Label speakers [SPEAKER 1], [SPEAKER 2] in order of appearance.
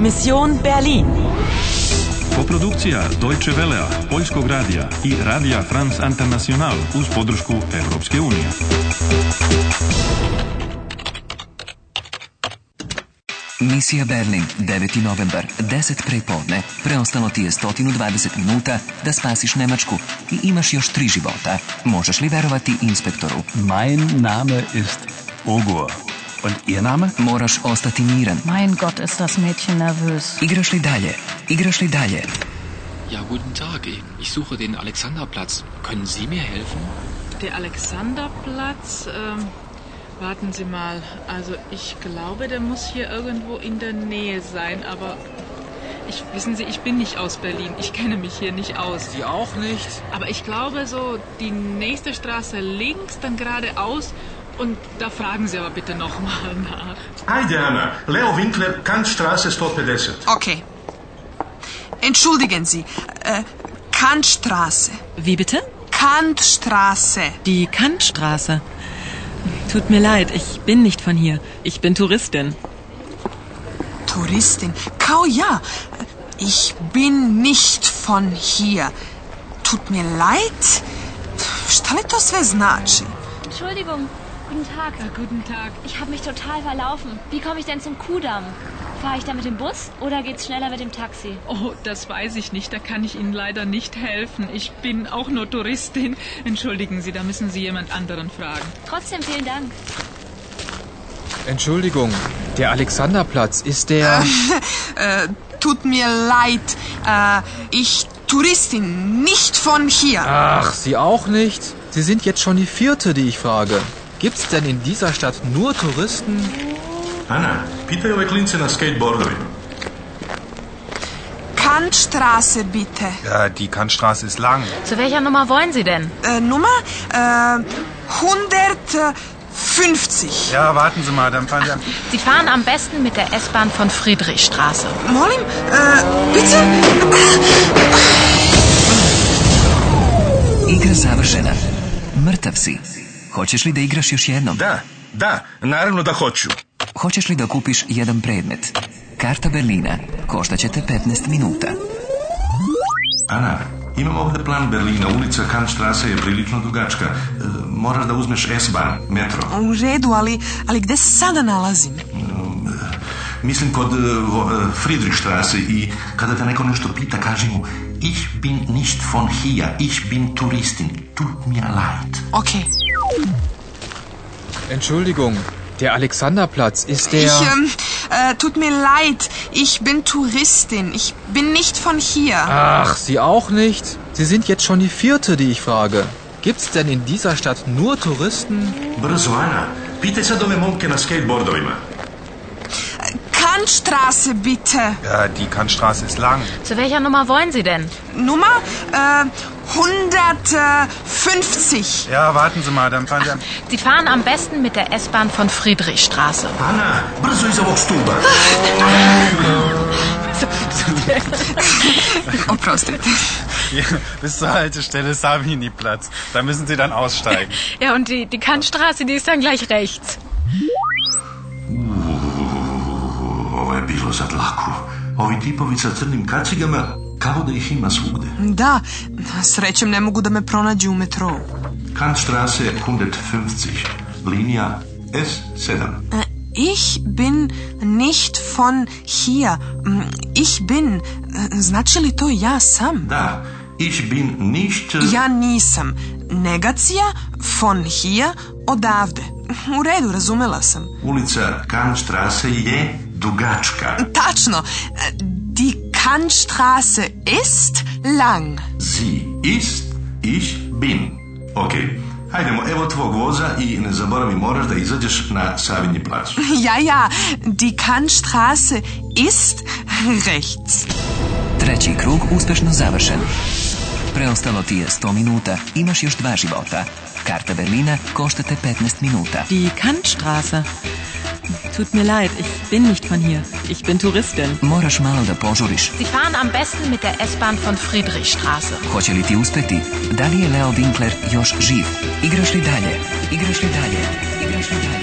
[SPEAKER 1] Mission Berlin.
[SPEAKER 2] Koprodukcija Deutsche Velea, Poljskog radija i Radija France International uz podršku Europske unije.
[SPEAKER 3] Misija Berlin, 9. novembar, 10 prepodne. Preostalo ti je 120 minuta da spasiš Nemačku i imaš još tri života. Možeš li verovati inspektoru?
[SPEAKER 4] Mein Name ist Ogur. Und Ihr Name?
[SPEAKER 3] Moraš ostati miran.
[SPEAKER 5] Mein Gott, ist das Mädchen nervös.
[SPEAKER 3] Igraš li dalje? Igraš li dalje?
[SPEAKER 6] Ja, guten Tag. Ich suche den Alexanderplatz. Können Sie mir helfen?
[SPEAKER 7] Der Alexanderplatz, ähm, warten Sie mal. Also ich glaube, der muss hier irgendwo in der Nähe sein, aber ich, wissen Sie, ich bin nicht aus Berlin. Ich kenne mich hier nicht aus.
[SPEAKER 6] Sie auch nicht?
[SPEAKER 7] Aber ich glaube so, die nächste Straße links, dann geradeaus und da fragen Sie aber bitte nochmal nach.
[SPEAKER 8] Heide Anna, Leo Winkler, Kantstraße 150.
[SPEAKER 9] Okay. Entschuldigen Sie. Äh, Kantstraße.
[SPEAKER 1] Wie bitte?
[SPEAKER 9] Kantstraße.
[SPEAKER 1] Die Kantstraße. Tut mir leid, ich bin nicht von hier. Ich bin Touristin.
[SPEAKER 9] Touristin. Kau ja. Ich bin nicht von hier. Tut mir leid. Šta li to sve znači?
[SPEAKER 10] Entschuldigung, guten Tag.
[SPEAKER 7] Ja, guten Tag.
[SPEAKER 10] Ich habe mich total verlaufen. Wie komme ich denn zum Kudamm? Fahre ich da mit dem Bus oder geht's schneller mit dem Taxi?
[SPEAKER 7] Oh, das weiß ich nicht. Da kann ich Ihnen leider nicht helfen. Ich bin auch nur Touristin. Entschuldigen Sie, da müssen Sie jemand anderen fragen.
[SPEAKER 10] Trotzdem vielen Dank.
[SPEAKER 11] Entschuldigung, der Alexanderplatz ist der.
[SPEAKER 9] Äh, tut mir leid. Äh, ich Touristin, nicht von hier.
[SPEAKER 11] Ach, Sie auch nicht? Sie sind jetzt schon die vierte, die ich frage. Gibt's denn in dieser Stadt nur Touristen?
[SPEAKER 8] Ana, pitaj ove klince na skateboardovima.
[SPEAKER 9] Kantstraße bitte.
[SPEAKER 12] Ja, die Kantstraße ist lang.
[SPEAKER 5] Zu welcher Nummer wollen Sie denn?
[SPEAKER 9] Äh, Nummer? Äh, 150.
[SPEAKER 12] Ja, warten Sie mal, dann fahren Sie. am-
[SPEAKER 5] Sie fahren am besten mit der S-Bahn von Friedrichstraße.
[SPEAKER 9] Molim? Äh, bitte?
[SPEAKER 3] Igra završena. Mrtav si. Hoćeš li da igraš još jednom?
[SPEAKER 8] Da, da, naravno da hoću.
[SPEAKER 3] Hoćeš li da kupiš jedan predmet? Karta Berlina koštaće te 15 minuta.
[SPEAKER 8] Ana, imam ovdje plan Berlina. Ulica Kantstraße je prilično dugačka. E, moraš da uzmeš S-Bahn, metro.
[SPEAKER 9] U redu, ali, ali gde se sada nalazim?
[SPEAKER 8] Mislim kod e, o, e, Friedrichstraße i kada te neko nešto pita, kaži mu Ich bin nicht von hier, ich bin Touristin. Tut mir leid.
[SPEAKER 9] Okej.
[SPEAKER 11] Entschuldigung, der Alexanderplatz ist der.
[SPEAKER 9] Ich, ähm, äh, tut mir leid, ich bin Touristin. Ich bin nicht von hier.
[SPEAKER 11] Ach, Sie auch nicht? Sie sind jetzt schon die vierte, die ich frage. Gibt's denn in dieser Stadt nur Touristen?
[SPEAKER 8] Brzo, Ana. Pitaj sad ove momke na skateboardovima.
[SPEAKER 9] Kantstraße bitte.
[SPEAKER 12] Ja, die Kantstraße ist lang.
[SPEAKER 5] Zu welcher Nummer wollen Sie denn?
[SPEAKER 9] Nummer äh, 150.
[SPEAKER 12] Ja, warten Sie mal, dann fahren Sie. am-
[SPEAKER 5] Sie fahren am besten mit der S-Bahn von Friedrichstraße.
[SPEAKER 8] Ana, brzo iz ovog stuba.
[SPEAKER 9] Oprostite.
[SPEAKER 12] Hier, Bis zur Haltestelle Sabini-Platz. Da müssen Sie dann aussteigen.
[SPEAKER 5] Ja, und die, die Kantstraße, die ist dann gleich rechts.
[SPEAKER 8] Ovo je bilo za dlaku. Ovi tipovi sa crnim kacigama, kao da ih ima svugde.
[SPEAKER 9] Da, srećem ne mogu da me pronađu u metrou.
[SPEAKER 8] Kantstraße 150, linija S7.
[SPEAKER 9] Äh, Ich bin nicht von hier. Mm, Ich bin, äh, znači li to ja sam?
[SPEAKER 8] Da, ich bin nicht...
[SPEAKER 9] Ja nisam. Negacija, von hier, odavde. U redu, razumela sam.
[SPEAKER 8] Ulica Kantstraße je dugačka.
[SPEAKER 9] Tačno. Die Kantstraße ist lang.
[SPEAKER 8] Sie ist, ich bin. Ok, hajdemo, evo tvog voza i ne zaboravi moraš da izađeš na Savinji plac.
[SPEAKER 9] Ja, ja, die Kantstraße ist rechts.
[SPEAKER 3] Treći krug uspešno završen. Preostalo ti je 100 minuta, imaš još dva života. Karta Berlina košta te 15 minuta.
[SPEAKER 1] Die Kantstraße. Tut mir leid, ich bin nicht von hier. Ich bin Touristin.
[SPEAKER 3] Moraš malo da požuriš.
[SPEAKER 5] Sie fahren am besten mit der S-Bahn von Friedrichstraße.
[SPEAKER 3] Hoće li ti uspeti? Da li je Leo Winkler još živ? Igraš li dalje? Igraš li dalje? Igraš li dalje?